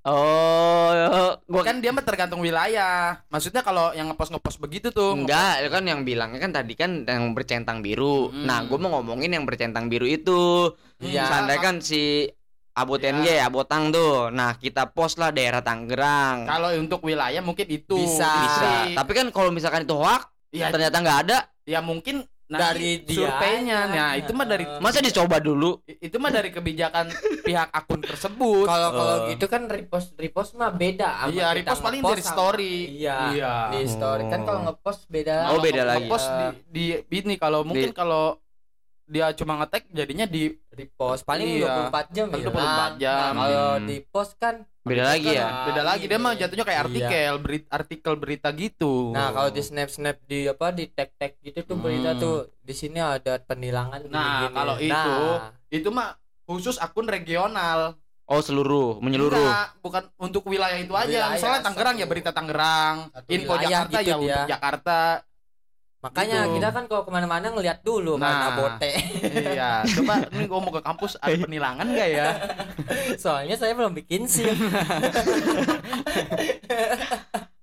oh gua kan dia mah tergantung wilayah maksudnya kalau yang ngepost ngepost begitu tuh Enggak, itu kan yang bilangnya kan tadi kan yang bercentang biru. gitu. Hmm. Ya. Nah, gue mau ngomongin yang bercentang biru itu. Iya. Seandainya kan si Abot Iya. NG, Abotang tuh. Nah, kita post lah daerah Tangerang. kalau untuk wilayah mungkin itu Bisa. Bisa. Tapi Tapi kan kalau misalkan itu hoak, Ya, ternyata nggak ada, ya mungkin Dari dari dia Eh. surveinya. aja. Nah, itu mah dari masa dicoba dulu? itu mah dari kebijakan pihak akun tersebut. Kalau kalau Eh. gitu kan repost repost mah beda sama iya, kita repost paling ngepost dari sama- story. Iya. Iya. Di story kan kalau ngepost beda. Oh, beda lagi. Post di, di ini kalau mungkin kalau dia cuma ngetek jadinya di repost paling Iya. 24 jam Paling ya. 24 jam. Nah, kalau Hmm. di post kan Beda lagi ya. Ah, beda lagi dia ini. mah jatuhnya kayak Iya. artikel, beri- artikel berita gitu. Nah, kalau di snap-snap di apa di tag-tag gitu tuh berita Hmm. tuh di sini ada penilangan Nah, gini-gini. kalau itu itu mah khusus akun regional. Oh, seluruh, menyeluruh. Enggak, bukan untuk wilayah itu aja. Wilayah Misalnya Tangerang ya satu- berita Tangerang, satu info wilayah Jakarta gitu ya untuk dia. Jakarta. makanya gitu. kita kan kalau kemana-mana ngeliat dulu Nah. mana bote. iya, coba ini gua mau ke kampus ada penilangan gak ya? Soalnya saya belum bikin sih.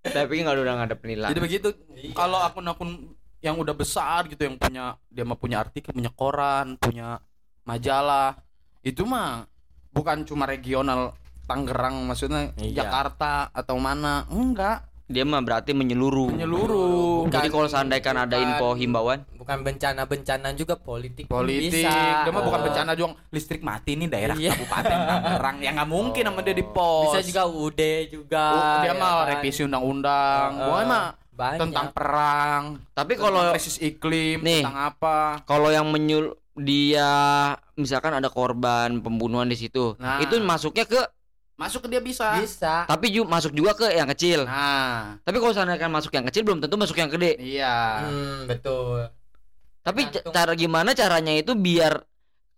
Tapi nggak ada udah nggak ada penilaian. Jadi begitu. Kalau akun-akun yang udah besar gitu yang punya dia mah punya artikel, punya koran, punya majalah, itu mah bukan cuma regional Tangerang maksudnya Iya. Jakarta atau mana? Enggak, Dia mah berarti menyeluruh. menyeluruh. Bukan. Jadi kalau seandainya kan ada Bukan. info himbauan, bukan bencana-bencana juga politik. pun Politik, bisa. dia mah bukan Eh, bencana juang listrik mati nih daerah Iya. kabupaten Tangerang yang nggak mungkin sama dia di pos. Bisa juga UD juga. Oh, dia ya mah kan. revisi undang-undang, Eh, Pokoknya mah banyak. tentang perang, tapi kalau kalau krisis iklim, Nih. tentang apa? kalau yang menyul dia misalkan ada korban pembunuhan di situ Nah. itu masuknya ke Masuk ke dia bisa. bisa. tapi ju- masuk juga ke yang kecil Nah, tapi kalau seandainya kan masuk yang kecil belum tentu masuk yang gede iya. Hmm, betul. tapi Nah, ca- Tergantung. cara gimana caranya itu biar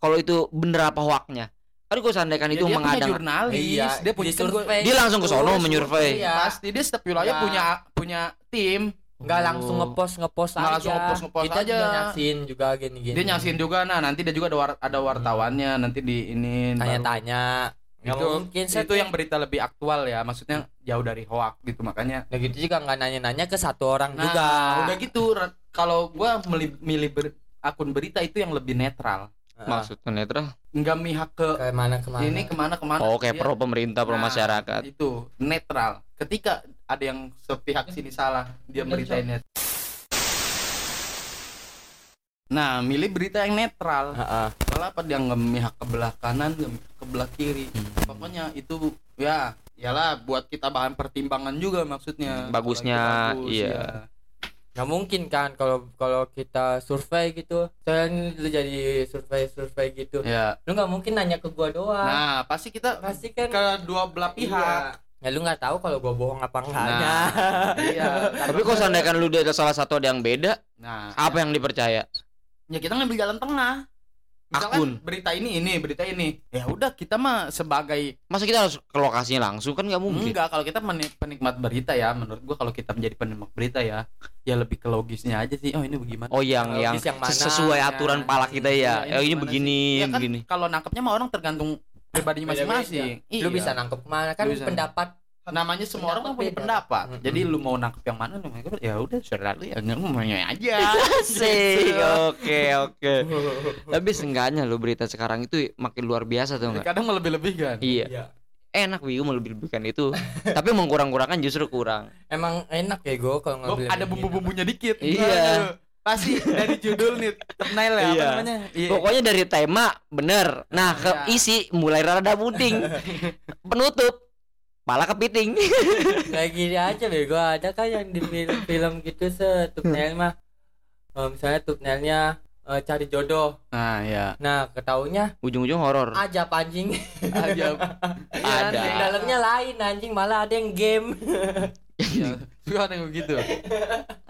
kalau itu bener apa hoaknya kan kalau seandainya kan Ya, itu dia punya mengadang Oh, jurnalis, dia punya kan gua- dia langsung ke sono menyurvei Iya. Pasti dia setiap wilayah Ya. punya punya tim. Nggak Oh. langsung ngepost ngepost aja. Nggak langsung ngepost, ngepost Kita aja. juga nyaksiin juga gini-gini. Dia nyaksiin juga. Nah, nanti dia juga ada war- ada wartawannya nanti di ini tanya-tanya. Nggak Itu- mungkin set. itu yang berita lebih aktual ya, maksudnya jauh dari hoak gitu makanya. Nah gitu juga nggak nanya-nanya ke satu orang Nah, juga. udah gitu Rat. kalau gua milih, milih ber- akun berita itu yang lebih netral. maksudnya netral Enggak mihak ke ke mana kemana? ini kemana kemana oh kayak Dia pro pemerintah pro Ah, Nah. masyarakat itu netral ketika ada yang sepihak sini salah dia beritain net- Nah, milih berita yang netral. Heeh. Soalnya apa dia nggak memihak ke belah kanan, nggak memihak ke belah kiri. Hmm. Pokoknya itu ya, iyalah buat kita bahan pertimbangan juga maksudnya. Hmm, bagusnya, Apalagi bagus, iya. ya. nggak mungkin kan kalau kalau kita survei gitu saya lu jadi survei survei gitu Ya. lu nggak mungkin nanya ke gua doang Nah, pasti kita pasti kan ke dua belah pihak. Iya. ya lu nggak tahu kalau gua bohong apa enggaknya Nah, iya. Nah, Tapi kalau seandainya kan lu ada salah satu ada yang beda, Nah, apa yang dipercaya? ya kita ngambil jalan tengah. Misalkan Akun. berita ini ini, berita ini. Ya udah kita mah sebagai Masa kita harus ke lokasinya langsung kan nggak mungkin. enggak kalau kita meni- penikmat berita ya, menurut gua kalau kita menjadi penikmat berita ya, ya lebih ke logisnya aja sih. Oh, ini bagaimana? Oh yang yang, Logis yang mana, sesuai ya. aturan pala kita ya. Iya, ini Eh, ini gimana begini, ya kan begini. kalau nangkepnya mah orang tergantung pribadinya Beda-beda. masing-masing. lu Iya. bisa nangkep mana kan Lu bisa. pendapat namanya semua orang kan punya Pendapat pendapat. beda. Jadi lu mau nangkep yang mana namanya ya udah saudara lu ya ngomongnya aja. Asik. Gitu. Oke, oke. Tapi seenggaknya lo berita sekarang itu makin luar biasa tuh enggak? Kadang kan. melebih-lebihkan. Iya. Iya. Enak Wiu melebih-lebihkan itu. Tapi mengkurang-kurangkan justru kurang. emang enak ya gua kalau Gua ngambil ada bumbu-bumbunya dikit. Iya. Aduh, Pasti dari judul nih thumbnail ya apa Iya. namanya? Nah, Iya. Pokoknya dari tema bener. Nah, ke Iya. isi mulai rada puding. Penutup pala kepiting. kayak gini aja bego ada kan yang di film-film gitu se thumbnail mah Eh, misalnya thumbnailnya eh, cari jodoh Nah, ya. nah ketaunya Ujung-ujung horor. Ah, aja anjing Ada. iya, Ada. yang dalamnya lain anjing malah ada yang game Ya, Iya. suka ada yang begitu.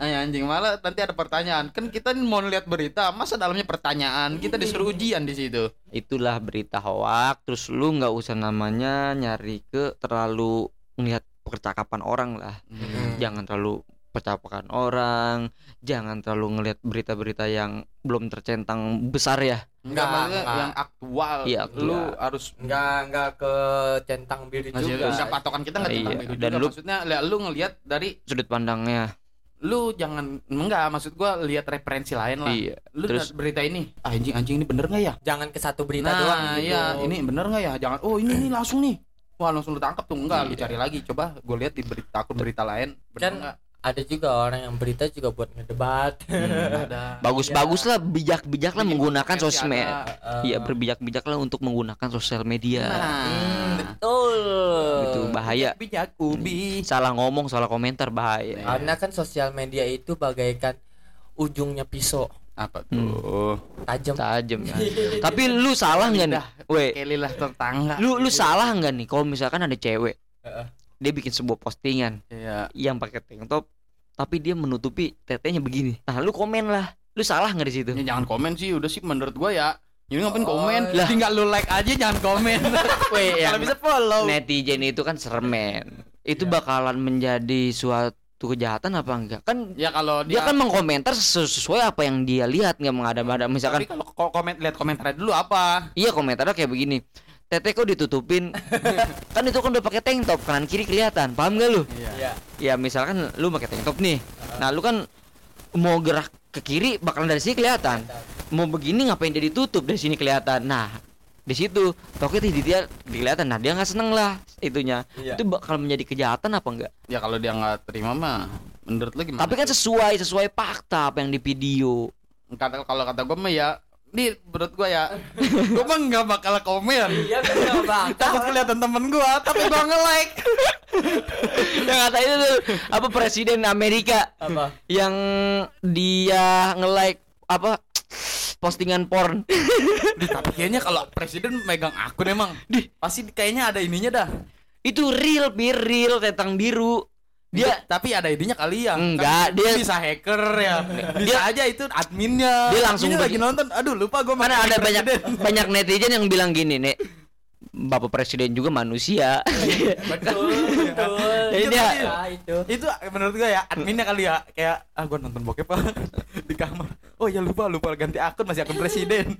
Ay, anjing malah nanti ada pertanyaan. Kan kita nih mau lihat berita, masa dalamnya pertanyaan. Kita disuruh ujian di situ. itulah berita hoak terus lu nggak usah namanya nyari ke terlalu melihat percakapan orang lah Hmm. jangan terlalu percakapan orang jangan terlalu ngelihat berita-berita yang belum tercentang besar ya Enggak, Enggak, maksudnya enggak. yang aktual. Iya, Lu aktual. harus nggak nggak ke centang biru Masih juga enggak patokan kita enggak Iya, tentang itu dan juga. lu- maksudnya li- lu ngelihat dari sudut pandangnya lu jangan enggak maksud gua lihat referensi lain lah. iya Lu terus- lihat berita ini, ah, anjing anjing ini bener nggak ya? jangan ke satu berita nah, doang iya, gitu. ini bener nggak ya? Jangan oh ini nih langsung nih. Wah, langsung lu tangkap tuh enggak, Iya. lu cari lagi. Coba gua lihat di berita akun berita lain bener Dan- enggak? ada juga orang yang berita juga buat ngedebat ada. Hmm. Ya. bagus-bagus lah bijak-bijak Iya, lah Kan menggunakan masih sosmed ada. iya berbijak-bijak lah untuk menggunakan sosial media Nah, Hmm, betul itu bahaya Iya. bijak ubi. salah ngomong salah komentar Nah. bahaya karena kan sosial media itu bagaikan ujungnya pisau Apa tuh? tajam tajam kan. Iya. tapi lu salah nggak nih Lidah. weh Kelilah tetangga. lu lu salah nggak nih kalau misalkan ada cewek Heeh. dia bikin sebuah postingan Iya. yang pakai tank top tapi dia menutupi tetenya begini nah lu komen lah lu salah nggak di situ Ya, jangan komen sih, udah sih menurut gua ya. Jadi ngapain Oh, komen? lah. Tinggal lu like aja jangan komen. Weh, yang Kalau bisa follow. Iya, Iya. netizen itu kan sermen itu bakalan menjadi suatu kejahatan apa enggak kan Ya kalau dia dia, kan mengkomentar sesu- sesuai apa yang dia lihat nggak Iya, mengada-ada tapi misalkan kalau ko- komen lihat komentarnya dulu apa? iya komentarnya kayak begini tete kok ditutupin kan itu kan udah pakai tank top kanan kiri kelihatan paham gak lu Iya. Iya. ya misalkan lu pakai tank top nih nah lu kan mau gerak ke kiri bakalan dari sini kelihatan mau begini ngapain dia ditutup dari sini kelihatan nah di situ toket di dia kelihatan nah dia nggak seneng lah itunya Iya. itu bakal menjadi kejahatan apa enggak Ya kalau dia nggak terima mah menurut lu gimana? tapi kan sesuai sesuai fakta apa yang di video kata kalau kata gua mah ya ini menurut gua ya gua mah nggak bakal komen Iya bener bang. takut kelihatan temen gua tapi gua nge-like yang kata itu tuh, apa presiden Amerika Apa? yang dia nge-like apa postingan porn Di, tapi kayaknya kalau presiden megang akun emang Dih. pasti kayaknya ada ininya dah itu real bir real tentang biru dia dia tapi ada idenya kali ya Kan Enggak, dia- bisa hacker ya bisa aja itu adminnya Dia langsung Adminnya lagi bagi- nonton aduh lupa gua Mana main ada banyak presiden. banyak netizen yang bilang gini, Nek. Bapak presiden juga manusia. Betul, Iya. betul. Jadi Itu dia- tadi. Nah, itu. itu menurut gua ya adminnya kali ya kayak ah gua nonton bokep ah, di kamar oh ya lupa lupa ganti akun masih akun presiden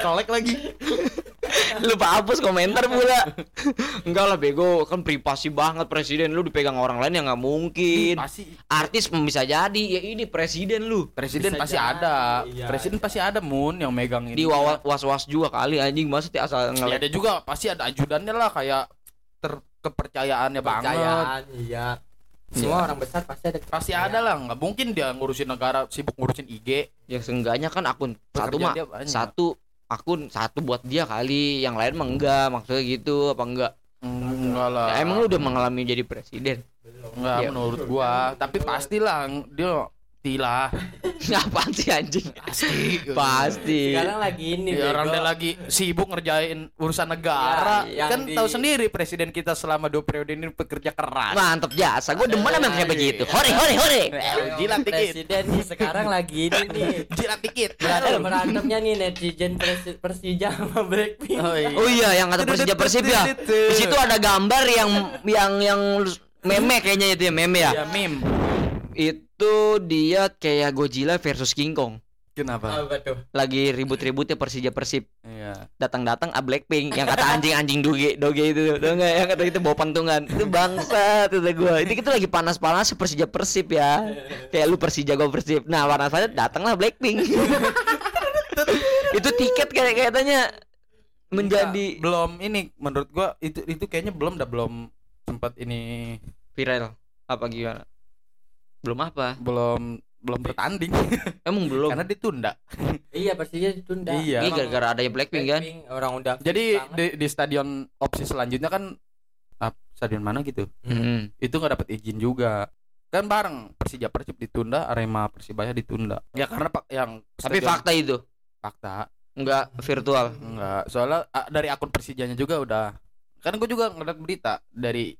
kolek lagi Lupa hapus komentar pula. Enggak lah bego, kan privasi banget presiden lu dipegang orang lain ya nggak mungkin. pasti Artis bisa jadi, ya ini presiden lu. presiden Bisa pasti jadi, ada iya, presiden pasti ada mun yang megang ini Di wawa- was-was juga kali anjing masa ti- Ya, asal ngelek. ada juga pasti ada ajudannya lah kayak ter kepercayaannya banget Percayaan, iya. semua orang besar pasti ada pasti ada lah nggak mungkin dia ngurusin negara sibuk ngurusin IG ya seenggaknya kan akun satu Pekerjaan mah dia banyak. satu akun satu buat dia kali yang lain mah enggak maksudnya gitu apa enggak Hmm, enggak lah Ya, emang lu udah mengalami jadi presiden enggak Iya. menurut gua tapi pastilah dia tilah apaan sih anjing pasti pasti Iya, sekarang lagi ini Ya, orang bego. dia lagi sibuk ngerjain urusan negara Iya, Ya, yang kan di- tahu sendiri presiden kita selama dua periode ini pekerja keras mantep jasa gue demen sama yang kayak begitu hore hore hore Eh, jilat dikit presiden nih sekarang lagi ini nih jilat dikit Iya, berantem berantemnya nih netizen Persi- Persija sama Blackpink Oh, iya. oh iya yang kata Persija Persibia di situ ada gambar yang yang yang meme kayaknya itu ya meme ya ya meme itu dia kayak Godzilla versus King Kong kenapa apa tuh lagi ribut-ributnya Persija Persib iya datang-datang a Blackpink yang kata anjing-anjing doge doge itu tuh enggak yang kata itu bawa pantungan itu bangsa itu gua ini kita lagi panas-panas Persija Persib ya kayak lu Persija gua Persib nah warna saya datanglah Blackpink itu tiket kayak katanya menjadi belum ini menurut gua itu itu kayaknya belum dah belum sempat ini viral apa gimana belum apa belum belum bertanding emang belum karena ditunda iya Persija ditunda Iya. ini gara-gara adanya Blackpink kan Blackpink, orang udah jadi banget. di, di stadion opsi selanjutnya kan ah, stadion mana gitu Mm-mm. itu nggak dapat izin juga kan bareng Persija Persib ditunda Arema Persibaya ditunda ya karena pak yang tapi stadion- fakta itu fakta enggak virtual enggak soalnya ah, dari akun Persijanya juga udah kan gue juga ngeliat berita dari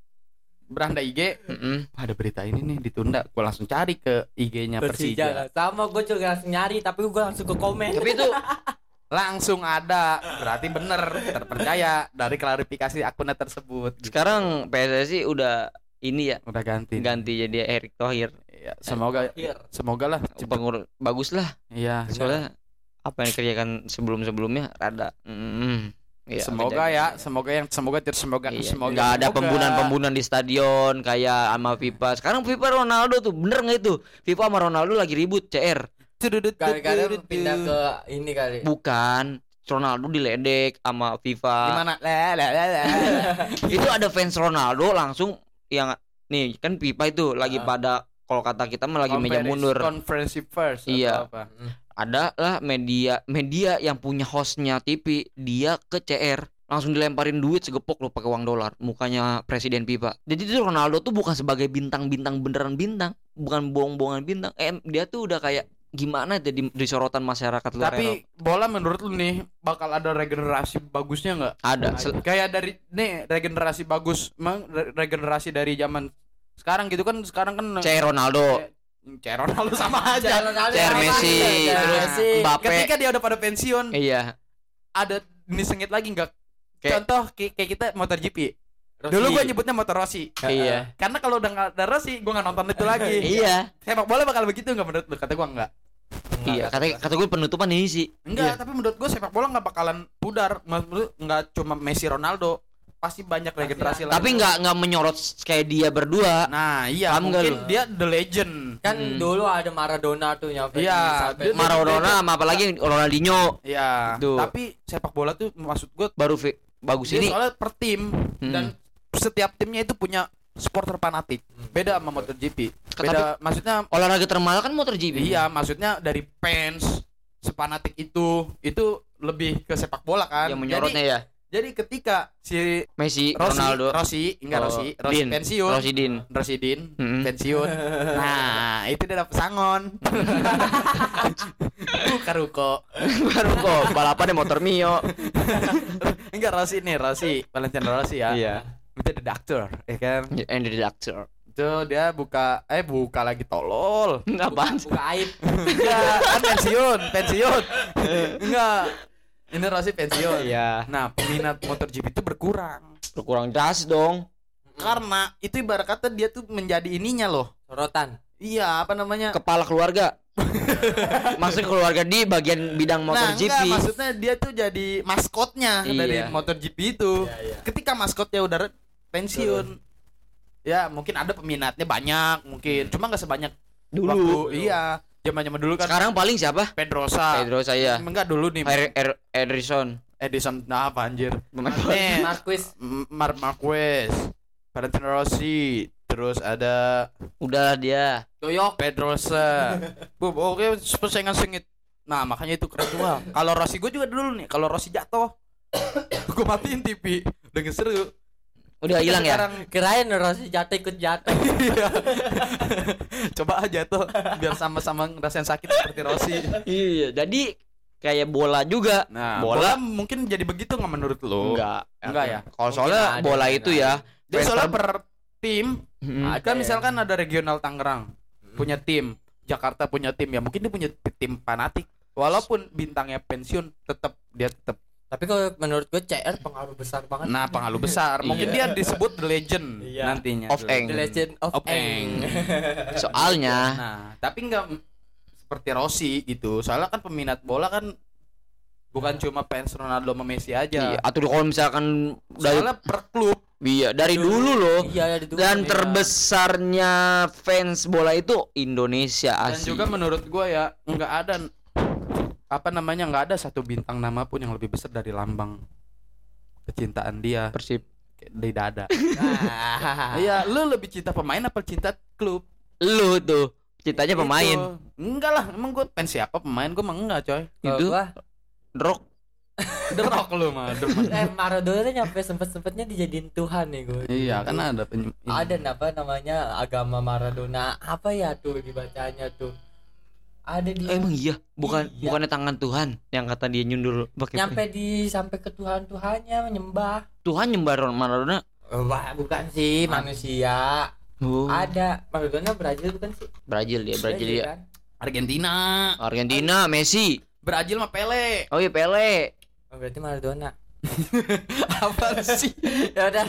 beranda IG Mm-mm. "Wah, ada berita ini nih ditunda gue langsung cari ke IG-nya Persija Persija kan. lah. sama gue juga langsung nyari tapi gue langsung ke komen tapi itu langsung ada berarti bener terpercaya dari klarifikasi akunnya tersebut sekarang PSSI udah ini ya udah ganti ganti jadi Erick Thohir Iya, semoga Akhir. semoga lah cepet pengurus bagus lah iya soalnya apa yang dikerjakan sebelum sebelumnya rada mm, ya, semoga ya semoga yang semoga ter semoga Iya, semoga nggak ada semoga. pembunuhan-pembunuhan di stadion kayak sama FIFA. Sekarang FIFA Ronaldo tuh bener nggak itu? FIFA sama Ronaldo lagi ribut CR. Tududut, kadang-kadang tududut. pindah ke ini kali Bukan Ronaldo diledek sama FIFA. gimana Le, le, le, le. Itu ada fans Ronaldo langsung yang nih kan FIFA itu lagi Ah. pada kalau kata kita mah lagi meja Conference- mundur. conference first atau Iya. apa. ada lah media media yang punya hostnya TV dia ke CR langsung dilemparin duit segepok lo pakai uang dolar mukanya presiden FIFA jadi tuh Ronaldo tuh bukan sebagai bintang-bintang beneran bintang bukan bohong-bohongan bintang eh, dia tuh udah kayak gimana jadi disorotan masyarakat luar tapi Eropa. bola menurut lu nih bakal ada regenerasi bagusnya nggak ada sel- kayak dari nih regenerasi bagus emang re- regenerasi dari zaman sekarang gitu kan sekarang kan CR Ronaldo CR Ronaldo sama Iya, aja CR Messi Nah, terus Mbappe ketika dia udah pada pensiun iya ada ini sengit lagi nggak Kayak- contoh ki- kayak kita motor GP dulu gue nyebutnya motor Rossi iya karena kalau udah nggak ada Rossi gue nggak nonton itu lagi iya sepak bola bakal begitu nggak menurut lu kata gue nggak iya kata kata gue penutupan ini sih Enggak, tapi menurut gue sepak bola nggak bakalan pudar. Menurut nggak cuma Messi Ronaldo, pasti banyak regenerasi lagi. tapi nggak nggak menyorot kayak dia berdua Nah, iya Paham nggak mungkin lu? dia the legend. kan Hmm. dulu ada Maradona tuh yang Iya, dia- Maradona sama apalagi Ronaldinho Iya. Betul. Tapi sepak bola tuh maksud gue baru fi- bagus dia ini soalnya per tim Hmm. dan setiap timnya itu punya supporter fanatik. Beda sama MotoGP. Tapi- Beda maksudnya olahraga termahal kan motor GP iya, maksudnya dari fans sepanatik itu itu lebih ke sepak bola kan. jadi yang menyorotnya ya jadi ketika si Messi Rossi, Ronaldo Rossi, enggak Oh, Rossi, Rossi Din. Hmm. pensiun. Rosidin Rosidin Mm-mm. pensiun. Nah, itu dia dapet sangon. Bukan ruko. baru kok balapan motor Mio Enggak Rosi nih, Rosi, Valentino Rosi ya. iya Itu the doctor, ya kan? and the doctor Itu dia buka eh buka lagi tolol. apaan sih? buka aib Enggak, kan pensiun, pensiun. Enggak. Ini Rosi pensiun. iya Nah, peminat MotoGP itu berkurang. kurang jas dong Karena itu ibarat kata dia tuh menjadi ininya loh. sorotan Iya, apa namanya? kepala keluarga maksudnya keluarga di bagian bidang nah, motor GP enggak, maksudnya dia tuh jadi maskotnya dari Iya. motor GP itu. Iya, iya. Ketika maskotnya udah re- pensiun, ya mungkin ada peminatnya banyak mungkin, cuma nggak sebanyak dulu waktu. Iya, zaman zaman dulu kan sekarang paling siapa Pedrosa. Pedro iya. saya Enggak dulu nih Er- Er- Ederson Edison nah, apa anjir. pemain bola. Nih, Marquis M- Mark Marquez, Valentino Rossi, Terus ada udahlah dia Doyok. Pedrosa. Bu, oke persaingan sengit. Nah, makanya itu keren juga. Kalau Rossi gue juga dulu nih, kalau Rossi jatuh gue matiin TV dengan seru. udah hilang ya Sekarang Kirain Rossi jatuh ikut jatuh. iya. Coba aja tuh biar sama-sama ngerasain sakit seperti Rossi. iya jadi kayak bola juga Nah, Bola- bola, mungkin jadi begitu nggak menurut lo? enggak Enggak ya. kalau Oh, soalnya Mungkin ada, bola mungkin itu ada. ya Dia soalnya Pesta- per tim, Mm-mm. Ada kan ya. misalkan ada regional Tangerang punya tim, Jakarta punya tim ya, mungkin dia punya t- tim fanatik. Walaupun bintangnya pensiun, tetap dia tetap Tapi kalau menurut gue CR pengaruh besar banget. nah pengaruh besar. Mungkin dia disebut the legend Iya. nantinya. Of Eng. The Legend of, Of Aang. soalnya Nah, tapi nggak m- seperti Rossi gitu. Soalnya kan peminat bola kan bukan cuma fans Ronaldo sama Messi iya, aja. atau kalau misalkan dari Soalnya per klub iya dari dulu loh Iya, dari dulu. dan Iya. terbesarnya fans bola itu Indonesia dan asli juga menurut gua ya nggak ada apa namanya nggak ada satu bintang nama pun yang lebih besar dari lambang kecintaan dia Persib di dada. Ah. Iya, lu lebih cinta pemain apa cinta klub? lu tuh cintanya Ya, pemain Itu. Enggak lah, emang gue fans siapa pemain gue mah enggak coy. Kalau itu gua, rock The Rock lu mah. demen. eh Maradona tuh nyampe sempet-sempetnya dijadiin Tuhan nih gue. iya, kan ada penyem- ini. Ada apa namanya agama Maradona apa ya tuh dibacanya tuh. Ada di emang iya bukan Iya. bukannya tangan Tuhan yang kata dia nyundul pakai nyampe di sampai ke Tuhan Tuhannya menyembah. Tuhan nyembah Ron- Maradona Wah, bukan sih Ah. manusia. oh. Ada Maradona Brazil bukan sih? Brazil iya. dia Brazil iya. dia kan? Argentina. Argentina Messi Brazil mah Pele. oh iya Pele Oh, berarti Maradona. apa sih? Ya udah.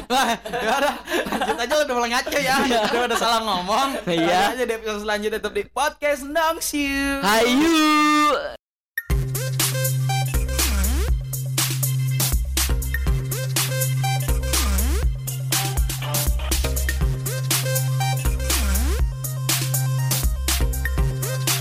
ya udah lanjut aja udah mulai ngaco ya udah, udah salah ngomong Iya. Lanjut aja di episode selanjutnya tetap di podcast Nongsiu Hayu